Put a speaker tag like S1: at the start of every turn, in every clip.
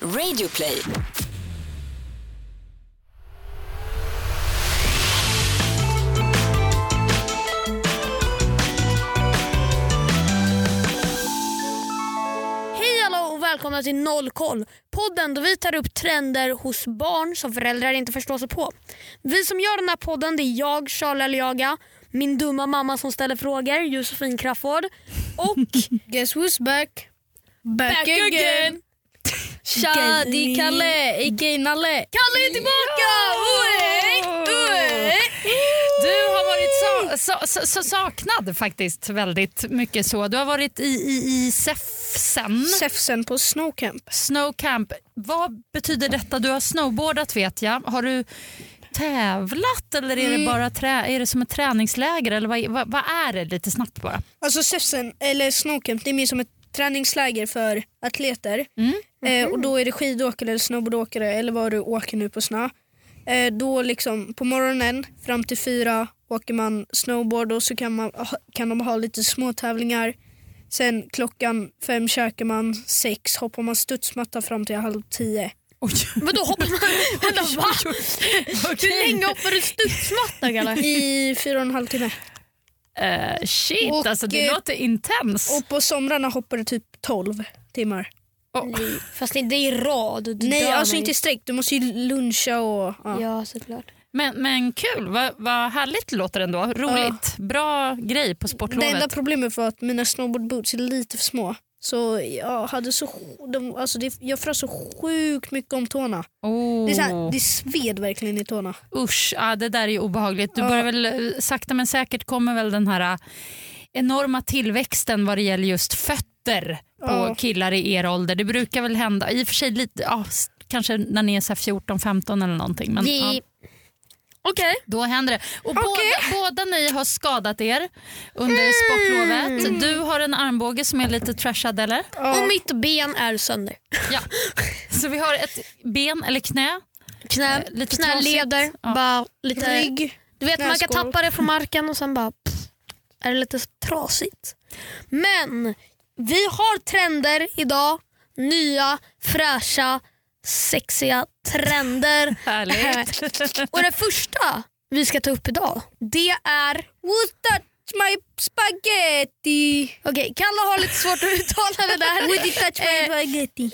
S1: Radioplay.
S2: Hej alla och välkomna till Nollkoll. Podden där vi tar upp trender hos barn som föräldrar inte förstår sig på. Vi som gör den här podden det är jag, Charlie Aliaga, min dumma mamma som ställer frågor, Josefin Crafoord och
S3: Guess who's back? Back, Tja,
S2: Gay.
S3: det är Kalle, aka Nalle.
S2: Kalle är tillbaka! Oj, oj.
S4: Du har varit så, så, så, så saknad faktiskt väldigt mycket så. Du har varit i, i, i SEFSen,
S3: Säfsen på Snowcamp.
S4: Snowcamp. Vad betyder detta? Du har snowboardat vet jag. Har du tävlat eller är
S3: Mm.
S4: det bara trä, är det som ett träningsläger eller vad, vad, vad är det lite snabbt bara?
S3: Alltså Säfsen, eller Snowcamp, det är mer som ett träningsläger för atleter. Eh, och Då är det skidåkare eller snowboardåkare eller vad du åker nu på snö. Eh, då liksom på morgonen fram till fyra åker man snowboard och så kan, man, kan de ha lite små tävlingar. Sen klockan fem käkar man, sex hoppar man studsmatta fram till halv tio.
S4: Oj.
S2: Vadå hoppar man? Vänta va? Hur länge hoppar du studsmatta Kalle?
S3: I fyra och en halv timme.
S4: Eh, shit,
S3: Och,
S4: alltså det
S3: eh,
S4: låter intens.
S3: Och på somrarna hoppar du typ 12 timmar.
S2: Fast det är i rad. Du
S3: Nej,
S2: dör
S3: alltså
S2: mig.
S3: inte i sträck. Du måste ju luncha och... Ja.
S2: Ja såklart.
S4: Men, men kul, vad vad härligt det låter ändå. Roligt, bra grej på
S3: Det enda
S4: sportlovet.
S3: problemet var att mina snowboardboots är lite för små. Så jag hade så... De, alltså det, jag frös så sjukt mycket om tårna.
S4: Oh.
S3: Det, är så här, det sved verkligen i tårna.
S4: Usch, ja, det där är ju obehagligt. Du
S3: Ja.
S4: börjar väl, eh, sakta men säkert kommer väl den här eh, enorma tillväxten vad det gäller just fötter på
S3: Ja.
S4: killar i er ålder. Det brukar väl hända, i och för sig lite, ja, s- kanske när ni är så här 14-15 eller någonting. Men, ja,
S2: Okej. Okay.
S4: då händer det. Och båda, båda ni har skadat er under
S3: Mm.
S4: sportlovet. Du har en armbåge som är lite trashad eller?
S3: Ja.
S2: Och mitt ben är sönder.
S4: Ja. Så vi har ett ben eller knä.
S2: Knä,
S4: Eh, lite
S2: knäleder,
S4: trasigt. Ja.
S2: bara lite...
S3: Rygg.
S2: Du vet man kan
S3: Knäskål.
S2: tappa det från marken och sen bara pff, är det lite trasigt. Men vi har trender idag. Nya, fräscha, sexiga trender.
S4: Härligt.
S2: och det första vi ska ta upp idag det är
S3: Who touch my spaghetti?
S2: Okej, Kalle har lite svårt att uttala det där.
S3: Who touch my spaghetti?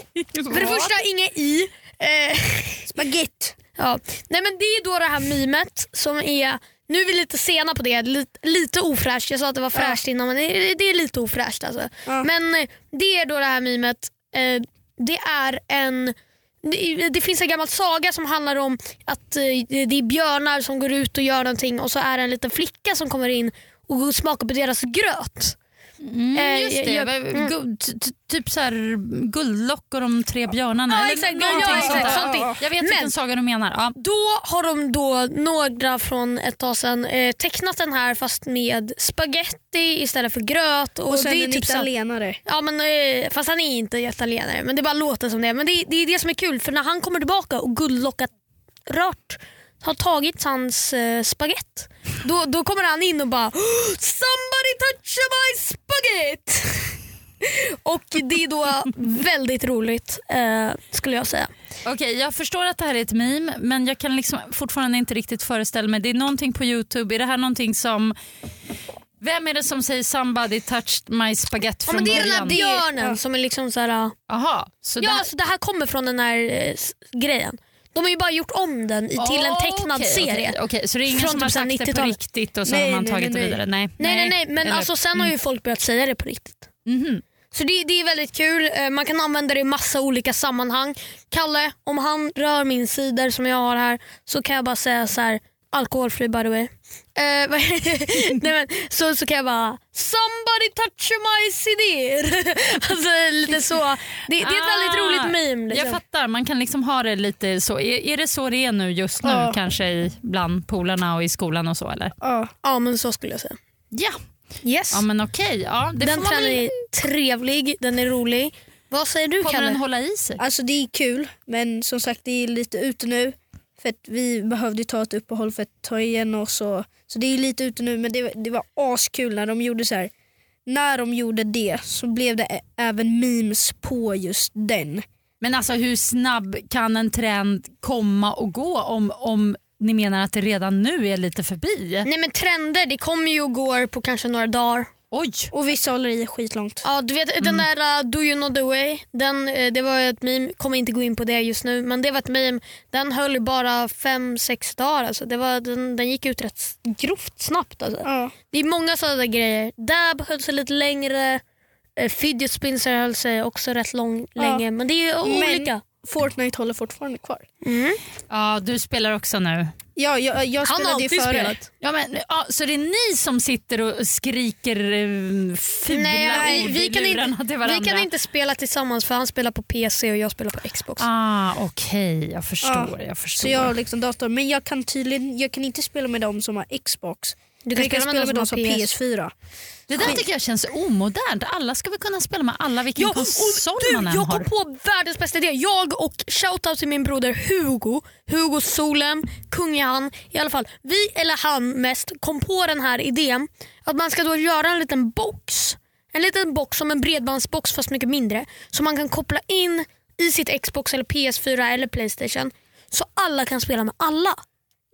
S2: För det första, inget i. Eh,
S3: Spaghetti.
S2: Ja. Nej, men det är då det här mimet som är, nu är vi lite sena på det, lite, lite ofräscht. Jag sa att det var fräscht innan men det, det är lite ofräscht alltså.
S3: Ja.
S2: Men eh, det är då det här mimet, eh, det är en det, det finns en gammal saga som handlar om att eh, det är björnar som går ut och gör någonting och så är det en liten flicka som kommer in och går och smakar på deras gröt.
S4: Mm,
S2: Eh,
S4: just det,
S2: jag-
S4: Väl- gu- t- t- typ så här guldlock och de tre björnarna.
S2: Ja,
S4: eller
S2: exakt. Ja,
S4: någonting
S2: ja,
S4: sånt
S2: exakt.
S4: där.
S2: Sånt är-
S4: Jag vet
S2: Men-
S4: vilken saga du menar. Ja.
S2: Då har de då några från ett tag sedan eh, tecknat den här fast med spaghetti istället för gröt. Och,
S3: Och sen
S2: det är
S3: en
S2: typ så-
S3: italienare.
S2: Ja, men, eh, fast han är inte italienare, men det bara låter som det. Men det, det är det som är kul, för när han kommer tillbaka och guldlockat rört har tagit hans eh, spagett. Då, då kommer han in och bara “Somebody touch my spagett!” Och det är då väldigt roligt eh, skulle jag säga.
S4: Okej, jag förstår att det här är ett meme men jag kan liksom fortfarande inte riktigt föreställa mig. Det är någonting på Youtube, är det här någonting som... Vem är det som säger somebody touched my spaghetti
S2: Ja,
S4: från
S2: men det är den här
S4: början?
S2: björnen som är liksom så här...
S4: Aha, så
S2: Ja,
S4: det här...
S2: alltså det här kommer från den här eh, s- grejen. De har ju bara gjort om den i, till en tecknad
S4: Ah, Okej,
S2: serie.
S4: Okej, okej, så det är ingen
S2: Från
S4: som
S2: typ
S4: har
S2: så här
S4: sagt det på
S2: 90-talet.
S4: riktigt och så
S3: Nej,
S4: har man
S3: nej,
S4: tagit
S3: nej,
S4: det
S3: nej.
S4: vidare? Nej,
S2: Nej, nej, nej, men
S4: Eller- mm.
S2: alltså, sen har ju folk börjat säga det på riktigt.
S4: Mhm.
S2: Så det, det är väldigt kul. Eh, Man kan använda det i massa olika sammanhang. Kalle, om han rör min cider som jag har här så kan jag bara säga så här. Alkoholfri by the way. Eh, vad- Nej, men, så, så kan jag bara “Somebody touch my cider”. alltså, lite så. Det, det är ett väldigt
S4: Ah,
S2: roligt meme. Liksom.
S4: Jag fattar, man kan liksom ha det lite så. Är, är det så det är nu just nu
S3: Ja.
S4: kanske i, bland polarna och i skolan och så eller?
S3: Ja.
S2: Ja men så skulle jag säga.
S4: Ja,
S2: Yes.
S4: ja men okej. Ja, det
S2: Den
S4: får man
S2: trenden
S4: väl,
S2: är trevlig, den är rolig. Vad säger du
S4: kommer den
S2: Kalle?
S4: hålla i sig?
S3: Alltså det är kul men som sagt det är lite ute nu. För att vi behövde ju ta ett uppehåll för att ta igen oss. Och, så det är lite ute nu men det, det var askul när de gjorde så här. När de gjorde det så blev det ä- även memes på just den.
S4: Men alltså hur snabb kan en trend komma och gå om, om ni menar att det redan nu är lite förbi?
S2: Nej men trender det kommer ju och går på kanske några dagar.
S4: Oj!
S3: Och vissa håller i skitlångt.
S2: Ja, du vet den
S4: Mm.
S2: där uh, Do you know the way, den, eh, det var ett meme, kommer inte gå in på det just nu, men det var ett meme, den höll ju bara fem sex dagar. Alltså. Det var, den, den gick ut rätt s- grovt snabbt. Alltså.
S3: Ja.
S2: Det är många sådana där grejer. Dab höll sig lite längre, eh, fidget spinner höll sig också rätt lång, länge, men det är ju olika.
S3: Fortnite håller fortfarande kvar.
S4: Ja, du spelar också nu.
S3: Ja, jag, jag
S2: Han har
S3: spelade ju
S2: alltid
S3: före.
S2: spelat.
S4: Ja, men, ja, så det är ni som sitter och skriker eh, fula
S2: Nej,
S4: ord
S2: vi,
S4: i
S2: kan
S4: lurarna
S2: inte,
S4: till varandra?
S2: vi kan inte spela tillsammans för han spelar på PC och jag spelar på Xbox.
S4: Ah, Okej, jag förstår.
S3: Ja,
S4: Jag förstår.
S3: Så jag har liksom dator. Men jag kan tydligen jag kan inte spela med dem som har Xbox.
S2: Du
S3: Men jag kan spela med dem som har PS4.
S4: Det där tycker jag känns omodernt. Alla ska väl kunna spela med alla vilken
S2: och
S4: konsol
S2: du,
S4: man än
S2: jag kom
S4: har.
S2: på världens bästa idé. Jag och shoutout till min broder Hugo, Hugo Solem, kung är han i alla fall. Vi, eller han mest, kom på den här idén att man ska då göra en liten box. En liten box som en bredbandsbox fast mycket mindre. Som man kan koppla in i sitt Xbox, eller PS4 eller Playstation. Så alla kan spela med alla.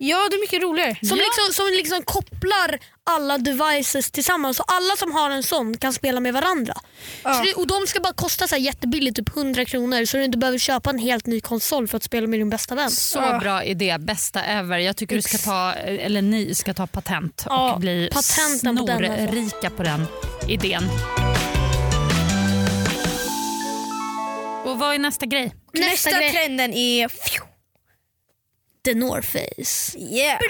S3: Ja, det är mycket roligare.
S2: Som,
S4: Ja.
S2: liksom, som liksom kopplar alla devices tillsammans. Så alla som har en sån kan spela med varandra. Så det, och De ska bara kosta så här jättebilligt, typ 100 kronor. Så du inte behöver köpa en helt ny konsol för att spela med din bästa vän.
S4: Så
S3: Ja.
S4: bra idé, bästa ever. Jag tycker du ska
S2: Ex-
S4: ta, eller ni ska ta patent och
S2: Ja,
S4: bli
S2: patenten på den, alltså.
S4: snorrika på den idén. Och vad är nästa grej?
S3: Nästa,
S2: Nästa grej.
S3: trenden är...
S2: The North Face.
S3: Yeah.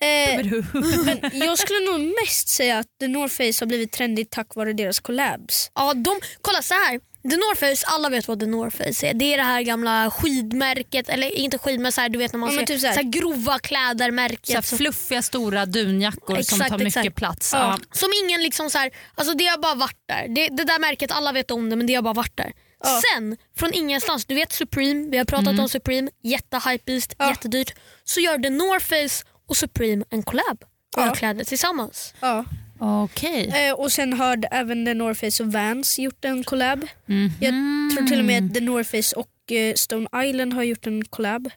S3: Eh, men jag skulle nog mest säga att The North Face har blivit trendigt tack vare deras collabs.
S2: Ja, de, kolla så här. The North Face, alla vet vad The North Face är. Det är det här gamla skidmärket, eller inte skidmärket, så här, du vet när man
S3: Ja, men
S2: ser så
S3: typ så här.
S2: här. grova kläder, märket.
S4: Så här
S2: som-
S4: fluffiga stora dunjackor som
S2: Exakt,
S4: tar mycket
S2: exakt.
S4: plats.
S2: Ja.
S4: Ja.
S2: Som ingen liksom så här, alltså det har bara varit där. Det, det där märket, alla vet om det men det har bara varit där.
S3: Ja. Mm.
S2: Sen, från ingenstans, du vet Supreme, vi har pratat om Supreme, jättehypebeast,
S3: Ja.
S2: jättedyrt. Så gör The North Face och Supreme en collab och
S3: Ja.
S2: gör kläder tillsammans.
S3: Ja.
S4: Okej.
S3: Eh, och sen har även The North Face och Vans gjort en collab. Jag tror till och med att The North Face och eh, Stone Island har gjort en collab.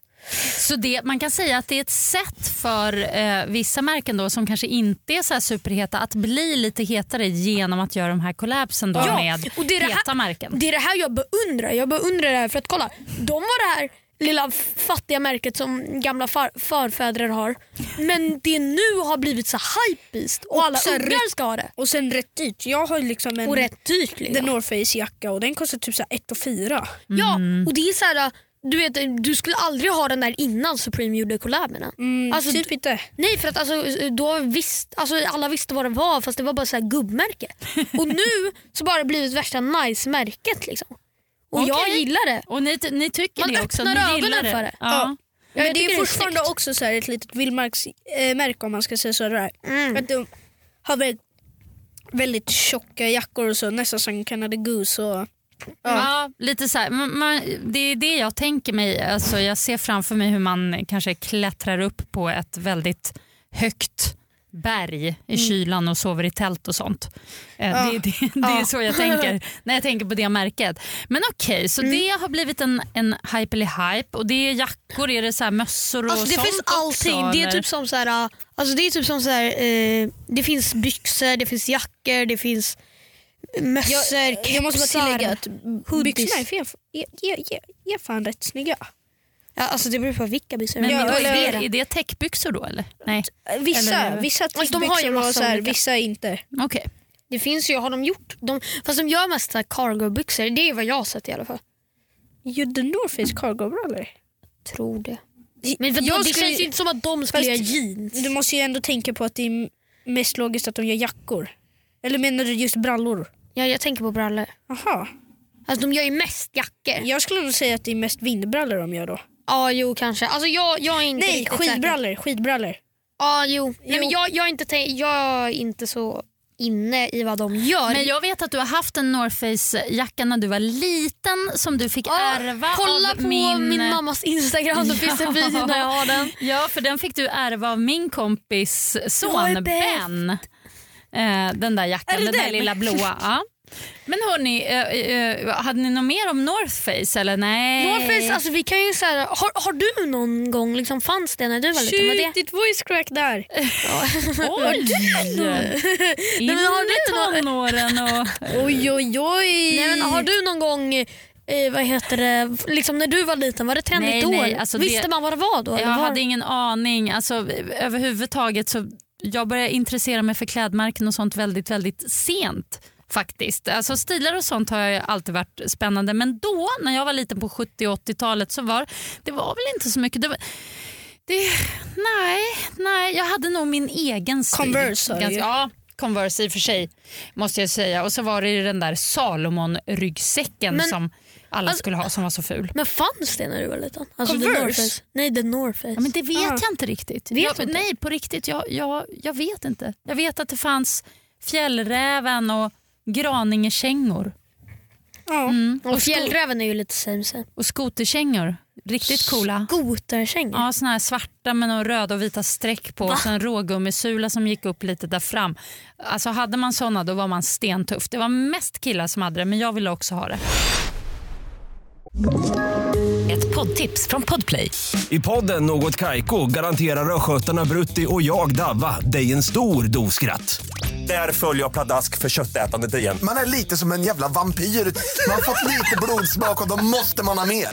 S4: Så det, man kan säga att det är ett sätt för eh, vissa märken då, som kanske inte är så här superheta att bli lite hetare genom att göra de här kollapsen då
S2: Ja,
S4: med
S2: och det är det här-
S4: heta märken.
S2: Det är det här jag beundrar. Jag beundrar det här för att kolla, de var det här lilla f- fattiga märket som gamla far, förfäder har. Men det nu har blivit så hypebeast och,
S3: Och
S2: alla
S3: så här
S2: ungar ska ha det.
S3: Och sen rätt dyrt. Jag har liksom en
S2: Och rätt dyrt. liksom.
S3: The North Face jacka och den kostar typ så här 1 4.
S2: Ja, och det är så här, du, vet, du skulle aldrig ha den där innan Supreme gjorde collaben.
S3: Mm,
S2: Alltså,
S3: typ inte.
S2: Nej, för att alltså, då visst, alltså, alla visste vad det var fast det var bara så här gubbmärke. Och nu så bara blivit värsta nice-märket. Liksom. Och jag
S4: Okej.
S2: gillar det.
S4: Och ni, ni tycker
S2: Man
S4: det också?
S2: öppnar
S4: ni gillar
S2: ögonen för det.
S4: Ja.
S2: Ja,
S3: Men
S2: jag
S3: det
S2: tycker
S3: är fortfarande
S2: snyggt.
S3: också så här ett litet vildmarksmärke om man ska säga sådär.
S2: Mm.
S3: Att de har väldigt, väldigt tjocka jackor och så, nästan som Canada Goose. Och,
S4: Ja. lite så här. Man, man, det är det jag tänker mig. Alltså, jag ser framför mig hur man kanske klättrar upp på ett väldigt högt berg i
S2: Mm.
S4: kylan och sover i tält och sånt. Eh, Det, det, det är
S3: Ja.
S4: så jag tänker när jag tänker på det märket. Men okej, så
S2: Mm.
S4: det har blivit en, en hype eller hype och det är jackor, är det så här mössor och
S2: Alltså, det
S4: sånt
S2: finns allting.
S4: Också,
S2: det, är
S4: eller?
S2: typ som så här, äh, alltså, det är typ som så här, eh, det finns byxor, det finns jackor, det finns mössor,
S3: jag, jag måste bara
S2: kepsar.
S3: tillägga att
S2: hoodies.
S3: byxorna är, fan- är, är, är, är fan rätt snygga.
S2: Ja, alltså, det beror på vilka byxor.
S4: Men
S3: Ja,
S4: vadå,
S3: eller-
S4: är, det, är det täckbyxor då eller? Nej,
S3: Vissa,
S4: Eller-
S3: vissa
S2: Alltså, de har ju
S3: täckbyxor
S2: massa
S3: och så här,
S2: olika.
S3: vissa inte.
S4: okej.
S2: Det finns ju, har de gjort? De, fast de gör mest så här cargo-byxor, det är vad jag har sett i alla fall.
S3: Gjorde The North Face cargo bra eller?
S2: Tror det. Men för
S3: Jag
S2: det
S3: skulle-
S2: känns ju inte som att de skulle
S3: Fast-
S2: göra jeans.
S3: Du måste ju ändå tänka på att det är mest logiskt att de gör jackor. Eller menar du just brallor?
S2: Ja, jag tänker på brallor.
S3: Aha.
S2: Alltså de gör ju mest jackor. Ja,
S3: Jag skulle nog säga att det är mest vindbrallor de gör då.
S2: jo kanske. Alltså jag, jag är inte
S3: Nej,
S2: riktigt säker.
S3: skidbrallor. skidbrallor.
S2: Ja, jo. Nej,
S3: Jo.
S2: men jag, jag, är inte tän- jag är inte så inne i vad de gör.
S4: Men jag vet att du har haft en North Face-jacka när du var liten som du fick
S2: Ja,
S4: ärva
S2: kolla
S4: av
S2: på
S4: min...
S2: min, mammas instagram, då finns det en video när jag har den.
S4: Ja, för den fick du ärva av min kompis
S2: Jag är
S4: son
S2: bäst.
S4: Ben. Eh, den där jackan,
S2: Är det
S4: den där
S2: den?
S4: lilla blåa. Ja. Men hörni, eh, eh, hade ni något mer om North Face eller nej?
S2: Norface, alltså vi kan ju så här, har, har du någon gång, liksom, fanns det när du var liten? Var det?
S3: Shit, ditt voice crack där.
S4: Oj! In
S2: men har du
S4: i
S2: inte någon-
S4: tonåren och...
S3: Oj, oj, oj.
S2: Nej, men har du någon gång, eh, vad heter det, liksom när du var liten, var det trendigt
S4: Nej,
S2: då?
S4: nej,
S2: eller?
S4: alltså det-
S2: Visste man vad det var då?
S4: Jag
S2: eller var...
S4: hade ingen aning. Alltså, överhuvudtaget så jag började intressera mig för klädmärken och sånt väldigt, väldigt sent. Faktiskt. Alltså stilar och sånt har ju alltid varit spännande men då när jag var liten på 70 och 80-talet så var det var väl inte så mycket. Det var, det, nej, nej, jag hade nog min egen stil.
S3: Converse har du ju.
S4: Ja, Converse i och för sig måste jag säga. Och så var det ju den där Salomon-ryggsäcken
S2: Men-
S4: som alla skulle ha som var så ful.
S2: Men fanns det när du var liten? Alltså, The
S3: Converse?
S2: North Face. Nej, The North Face.
S4: Ja, men det vet
S3: Ja.
S4: jag inte riktigt.
S2: Vet
S4: jag,
S2: du inte?
S4: Nej, på riktigt. Jag, jag, jag vet inte. Jag vet att det fanns Fjällräven och Graningekängor
S3: Ja.
S4: Alltså,
S2: och fjällräven är ju lite same same.
S4: och skoterkängor. Riktigt coola.
S2: Skoterkängor.
S4: Ja, såna här svarta med några röda och vita streck på och så en rågummisula som gick upp lite där fram. Alltså hade man såna då var man stentuff. Det var mest killar som hade det men jag ville också ha det.
S1: Ett poddtips från Podplay.
S5: I podden Något Kaiko garanterar östgötarna Brutti och jag, Davva, dig en stor dos skratt. Där följer jag pladask för köttätandet igen.
S6: Man är lite som en jävla vampyr. Man har fått lite blodsmak och då måste man ha mer.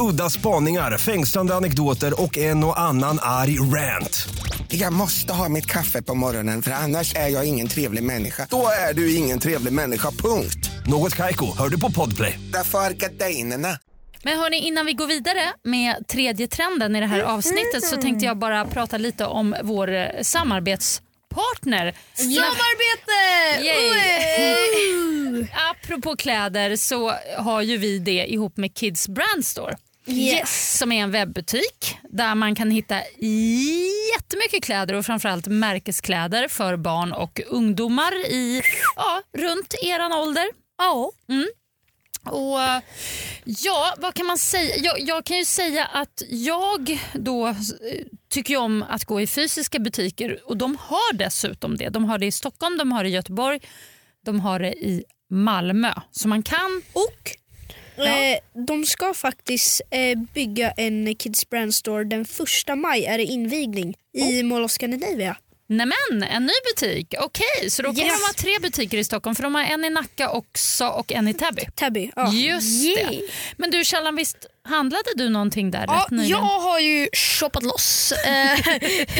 S5: Udda spaningar, fängslande anekdoter och en och annan arg rant.
S7: Jag måste ha mitt kaffe på morgonen för annars är jag ingen trevlig människa.
S6: Då är du ingen trevlig människa, punkt.
S5: Något Kaiko, hör du på Podplay.
S7: Därför arkadeinerna.
S4: Men hörni, innan vi går vidare med tredje trenden i det här
S2: Mm.
S4: avsnittet så tänkte jag bara prata lite om vår eh, samarbetspartner.
S2: Samarbete!
S4: Yay. Apropå kläder så har ju vi det ihop med Kids Brand Store.
S2: Yes.
S4: Som är en webbutik där man kan hitta jättemycket kläder och framförallt märkeskläder för barn och ungdomar i ja, runt eran ålder. Mm.
S2: Ja.
S4: Och ja, vad kan man säga? Jag, jag kan ju säga att jag då eh, tycker ju om att gå i fysiska butiker och de har dessutom det. De har det i Stockholm, de har det i Göteborg, de har det i Malmö. Så man kan...
S3: Och eh, de ska faktiskt eh, bygga en Kids Brand Store. Den första maj är det invigning i Mall of Scandinavia.
S4: Nämen, en ny butik! Okej, så då kommer
S3: Yes.
S4: de ha tre butiker i Stockholm för de har en i Nacka också och en i Täby.
S3: Tabby. Ja.
S4: Just det. Men du Källan, visst handlade du någonting där
S2: Ja,
S4: rätt nyligen?
S2: jag har ju shoppat loss. Eh,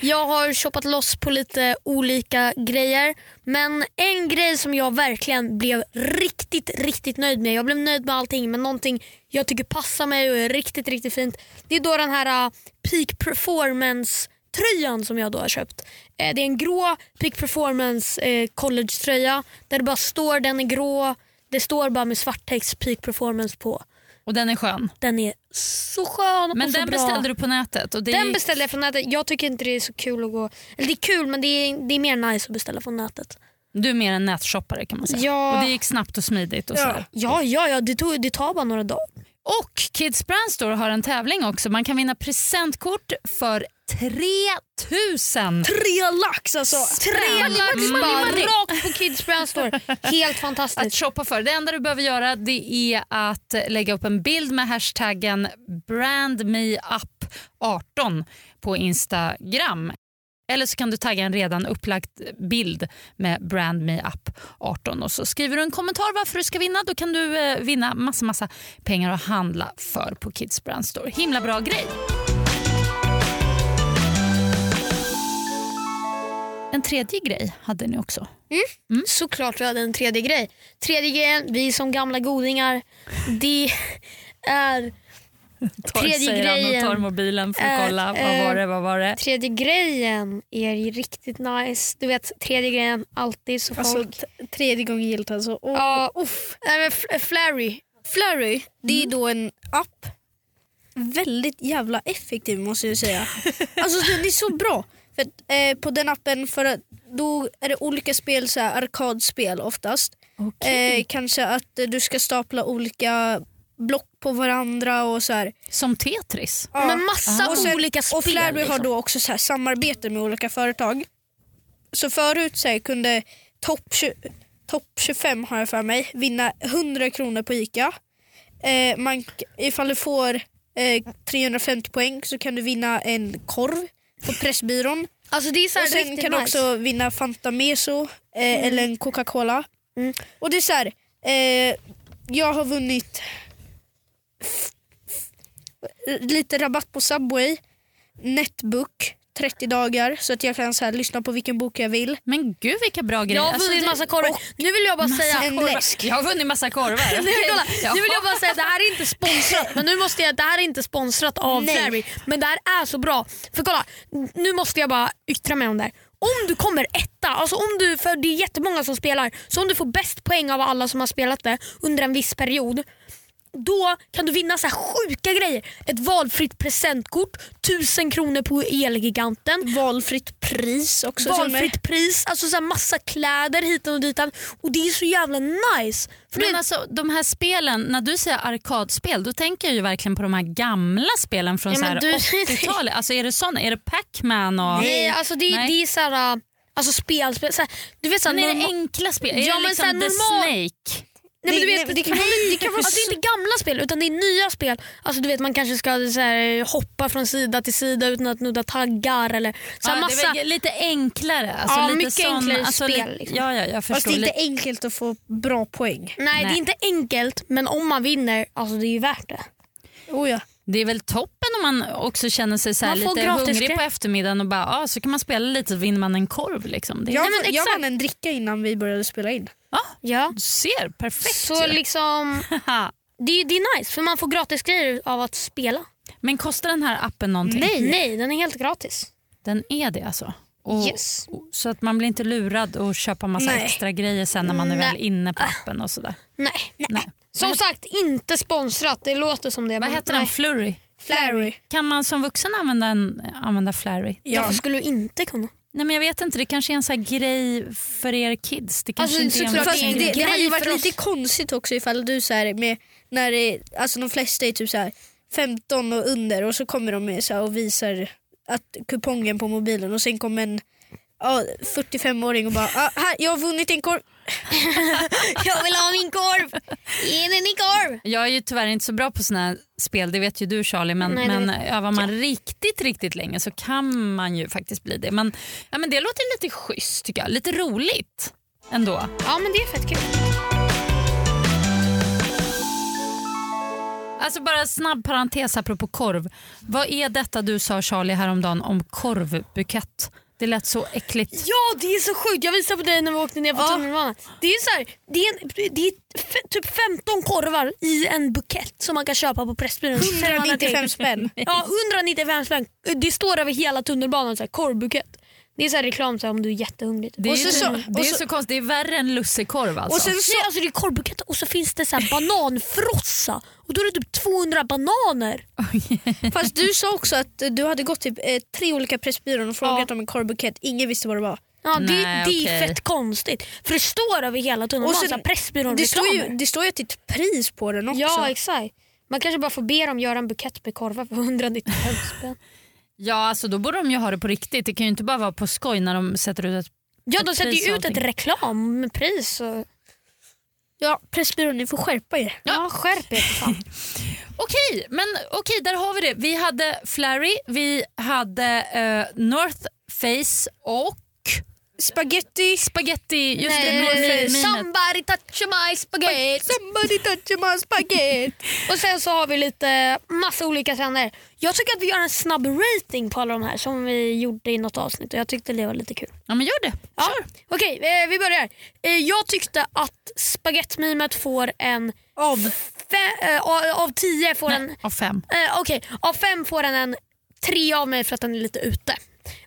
S2: jag har shoppat loss på lite olika grejer. Men en grej som jag verkligen blev riktigt, riktigt nöjd med. Jag blev nöjd med allting men någonting jag tycker passar mig och är riktigt, riktigt fint. Det är då den här eh, Peak Performance tröjan som jag då har köpt. Eh, det är en grå Peak Performance eh, college tröja där det bara står den är grå. Det står bara med svart text Peak Performance på.
S4: Och den är skön.
S2: Den är så skön
S4: Men
S2: och så
S4: den
S2: bra.
S4: beställde du på nätet. Och det
S2: Den
S4: gick-
S2: beställde jag från nätet. Jag tycker inte det är så kul att gå... Eller det är kul men det är, det är mer nice att beställa från nätet.
S4: Du är mer en nätshoppare kan man säga.
S2: Ja.
S4: Och det gick snabbt och smidigt. Och, sådär.
S2: Ja, ja, ja det, tog, det tar bara några dagar.
S4: Mm. och Kids Brand Store har en tävling också. Man kan vinna presentkort för 3000
S3: Tre lax alltså!
S2: Tre lax bara rakt på Kids Brand Store. Helt
S4: att
S2: fantastiskt.
S4: shoppa för. Det enda du behöver göra det är att lägga upp en bild med hashtaggen brandmeup18 på Instagram. Eller så kan du tagga en redan upplagd bild med brandmeup18 och så skriver du en kommentar varför du ska vinna. Då kan du eh, vinna massa, massa pengar att handla för på Kids Brand Store. Himla bra grej. En tredje grej hade ni också.
S2: Mm. Såklart vi hade en tredje grej. Tredje grejen, vi som gamla godingar, det är... Tredje
S4: säger
S2: grejen.
S4: han och tar mobilen för att
S2: Eh,
S4: kolla. vad
S2: eh,
S4: var det? Vad var det?
S2: Tredje grejen är ju riktigt nice. Du vet, tredje grejen alltid så folk...
S3: Alltså, t- tredje gången gillt alltså. Och,
S2: ja, uff. Nej, men F- Flurry.
S3: Flurry, det är då en app. Väldigt jävla effektiv måste jag säga. Alltså det det är så bra. För att, eh, på den appen, för att, då är det olika spel, så här, arkadspel oftast. Eh, kanske att eh, du ska stapla olika block på varandra och så här.
S4: Som Tetris.
S3: Ja.
S2: Men massa
S3: Och sen-
S2: olika spel.
S3: Och Flabby har
S2: liksom.
S3: då också så här samarbete med olika företag. Så förut så här, kunde topp 20 topp 25 har jag för mig, vinna 100 kronor på ICA. Eh, man, k- ifall du får eh, 350 poäng så kan du vinna en korv på Pressbyrån.
S2: Alltså det är så här
S3: Och sen
S2: riktigt
S3: kan du
S2: nice. Mm.
S3: också vinna Fanta Meso eh, eller en Coca-Cola. Och det är så här, eh, jag har vunnit f- f- lite rabatt på Subway, Netbook, 30 dagar så att jag kan så här, lyssna på vilken bok jag vill.
S4: Men gud vilka bra grejer.
S2: Jag har
S4: Alltså,
S2: vunnit
S4: det-
S2: massa korvar. Nu vill jag bara säga...
S3: En läsk.
S4: Jag har vunnit massa korvar.
S2: Nej, kolla.
S4: Ja.
S2: Nu vill jag bara säga att det här är inte sponsrat. Men nu måste jag, det här är inte sponsrat av
S3: Nej.
S2: Flarry. Men det här är så bra. För kolla, nu måste jag bara yttra mig om det här. Om du kommer etta, alltså om du, för det är jättemånga som spelar, så om du får bäst poäng av alla som har spelat det under en viss period, då kan du vinna så här sjuka grejer. Ett valfritt presentkort, tusen kronor på Elgiganten,
S3: Valfritt pris också. till och med.
S2: valfritt pris, alltså så här massa kläder hit och dit. Och Det är så jävla nice. För
S4: Men alltså, de här spelen, när du säger arkadspel, då tänker jag ju verkligen på de här gamla spelen från
S2: Ja,
S4: så
S2: men
S4: här
S2: du-
S4: 80-talet. Alltså, är det såna? Är det Pac-Man? Och...
S2: Nej, alltså det,
S4: Nej.
S2: det är såhär, alltså spel, spel såhär, du vet såhär,
S4: Men är det
S2: norma-
S4: enkla spel?
S2: Ja,
S4: är det
S2: men
S4: liksom
S2: så här
S4: The
S2: normal-
S4: Snake?
S2: nej, men du
S3: det-
S2: vet,
S3: nej, det kan vara- det kan vara
S2: alltså, det är inte gamla spel utan det är nya spel. Alltså du vet man kanske ska så här, hoppa från sida till sida utan att nudda taggar eller så här,
S4: Ja, det
S2: massa.
S4: är väl lite enklare. Alltså,
S2: Ja,
S4: lite
S2: mycket
S4: sån,
S2: enklare
S4: alltså,
S2: spel,
S4: li-
S2: liksom.
S4: Ja, ja, jag
S3: Fast det
S4: förstår.
S3: är inte
S4: lite.
S3: enkelt att få bra poäng.
S2: Nej, det
S4: Nej.
S2: är inte enkelt men om man vinner, alltså det är ju värt det.
S3: Oh ja.
S4: det är väl toppen om man också känner sig så här
S2: Man får
S4: lite
S2: gratis
S4: hungrig
S2: grej.
S4: på eftermiddagen och bara, ah, så kan man spela lite så vinner man en korv. Liksom. Det är,
S3: jag,
S2: men
S3: jag
S2: exakt.
S3: vann en dricka innan vi började spela in.
S4: ah,
S2: Ja.
S4: du ser, perfekt
S2: Så
S4: ju.
S2: liksom,
S4: Haha.
S2: det, det är nice för man får gratis grejer av att spela.
S4: Men kostar den här appen någonting?
S2: Nej, den är helt gratis.
S4: Den är det alltså? Och,
S2: Yes.
S4: och- Så att man blir inte lurad och köpa massa
S3: Nej.
S4: extra grejer sen när man är väl
S2: Nej.
S4: inne på appen och sådär.
S2: Nej.
S4: Nej.
S2: Som sagt, inte sponsrat. Det låter som det.
S4: Vad heter den? Flurry?
S3: Flary.
S4: Kan man som vuxen använda, en, använda Flurry?
S2: Ja. Varför skulle du inte kunna?
S4: Nej men jag vet inte, det kanske är en sån här grej för er kids. Det kanske
S2: Alltså,
S4: inte är en
S2: såklart
S3: Fast
S2: det är en
S4: vuxengrej.
S3: det, det
S2: grej
S3: hade ju
S2: för
S3: varit
S2: oss.
S3: lite konstigt också ifall du så här med, när det, alltså de flesta är typ så här 15 och under och så kommer de med så här och visar att kupongen på mobilen och sen kommer en ja, 45-åring och bara ah, här, jag har vunnit en korv.
S2: Jag vill ha min korv! Ge mig min korv!
S4: Jag är ju tyvärr inte så bra på såna här spel, det vet ju du Charlie, men,
S2: Nej, det
S4: men övar man riktigt, riktigt länge så kan man ju faktiskt bli det. Men, ja, men det låter lite schysst tycker jag, lite roligt ändå.
S2: Ja men det är fett kul.
S4: Alltså bara snabb parentes apropå korv. Vad är detta du sa Charlie häromdagen om korvbukett? Det lät så äckligt.
S2: Ja det är så sjukt, jag visade på dig när vi åkte ner på tunnelbanan. Det är så här, det är, en, det är f- typ 15 korvar i en bukett som man kan köpa på Pressbyrån.
S3: 195 spänn.
S2: Ja 195 spänn. Det står över hela tunnelbanan, så här, korvbukett. Det är så här reklam så här, om du är jättehungrig. Typ.
S4: Det är,
S2: Och
S4: ju-
S2: så, så,
S4: det är ju så konstigt, det är värre än lussekorv alltså.
S3: Och sen så,
S2: nej, alltså det är korvbukett och så finns det så här bananfrossa och då är det typ 200 bananer.
S3: fast du sa också att du hade gått till eh, tre olika Pressbyrån och frågat om en korvbukett. Ingen visste vad det var.
S2: Ja, det,
S4: Nej,
S2: det är
S4: okej.
S2: fett konstigt. För det står över hela tunnelbanan,
S3: Och sen-
S2: så här Pressbyrån
S3: Det står, ju,
S2: reklamer.
S3: det står ju att det är ett pris på den också.
S2: Ja exakt. Man kanske bara får be dem göra en bukett med korvar för 195 spänn.
S4: Ja, alltså då borde de ju ha det på riktigt. Det kan ju inte bara vara på skoj när de sätter ut ett...
S2: Ja
S4: Ett
S2: de sätter
S4: pris
S2: ju
S4: och
S2: ut ett
S4: allting.
S2: reklampris. Och...
S3: Ja, Pressbyrån, ni får skärpa er.
S2: Ja skärp er för fan.
S4: Okej, men okej, där har vi det. Vi hade Flurry, vi hade eh, North Face och
S3: Spaghetti.
S4: Spaghetti. Just det,
S2: Eh,
S4: med- med- med-
S2: Somebody touch my spaghetti.
S3: Somebody touch my spaghetti.
S2: Och sen så har vi lite massa olika trender. Jag tycker att vi gör en snabb rating på alla de här som vi gjorde i något avsnitt och jag tyckte det var lite kul.
S4: Ja, men gör det.
S2: Ja. Okej, eh, vi börjar. Eh, jag tyckte att spagettmimet får en... Av? av tio får en...
S4: Nej, av fem.
S2: Eh, Okej, av fem får den en tre av mig för att den är lite ute.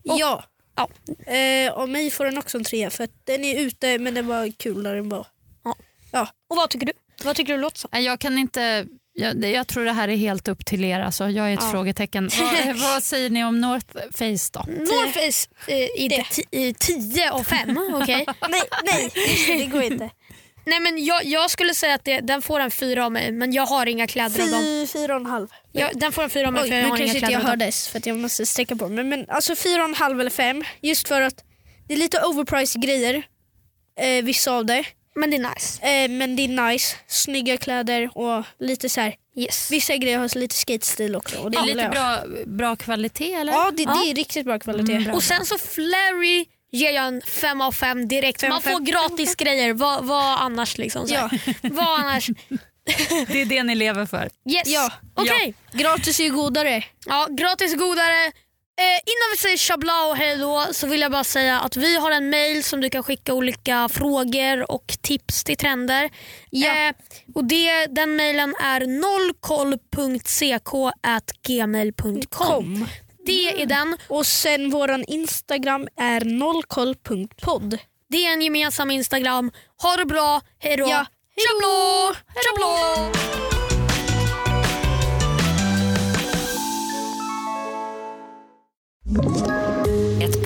S2: Och-
S3: ja.
S2: Ja.
S3: Eh, och mig får den också en trea för att den är ute men den var kul när den var.
S2: Ja.
S3: Ja.
S2: Och vad tycker du? Vad tycker du låter som?
S4: Nej, Jag kan inte... Jag, det- jag tror det här är helt upp till er. Alltså. Jag är ett frågetecken. Vad, vad säger ni om North Face då?
S2: Norface eh, är ti- i tio av fem. okej?
S3: Nej, nej just det, det går inte.
S2: Nej men jag, jag skulle säga att det, den får en fyra av mig men jag har inga kläder av dem.
S3: Fy, fyra och en halv.
S2: Jag, den får en fyra av mig
S3: Oj,
S2: för jag
S3: nu
S2: har inga
S3: kanske inte
S2: kläder
S3: jag
S2: av dem.
S3: hördes för att jag måste sträcka på mig. Men alltså fyra och en halv eller fem. Just för att det är lite overpriced grejer. Eh, vissa av det.
S2: Men det är nice.
S3: Eh, men det är nice, snygga kläder och lite så här.
S2: Yes.
S3: vissa grejer har lite skatestil också. Och det
S4: Det är
S3: gillar
S4: lite
S3: jag.
S4: bra, bra kvalitet eller?
S3: Ja det, det är riktigt bra kvalitet.
S2: Och sen så Flurry ger jag en fem av fem direkt.
S3: Fem,
S2: Man
S3: fem.
S2: får gratis grejer. Vad, vad annars liksom? Så här. Vad annars?
S4: Det är det ni lever för.
S2: Yes.
S3: Ja.
S2: Okej.
S3: Gratis är ju godare.
S2: Ja, gratis och godare. Eh, innan vi säger tjabla och hej då så vill jag bara säga att vi har en mail som du kan skicka olika frågor och tips till trender. Eh, och det, Den mailen är nollkoll.ck.gmail.com. Det
S3: Mm.
S2: är den.
S3: Och sen våran Instagram är nollkoll.podd.
S2: Det är en gemensam Instagram. Ha det bra, hej då.
S3: Ja,
S2: Tjablå! Tjablå!
S1: Ett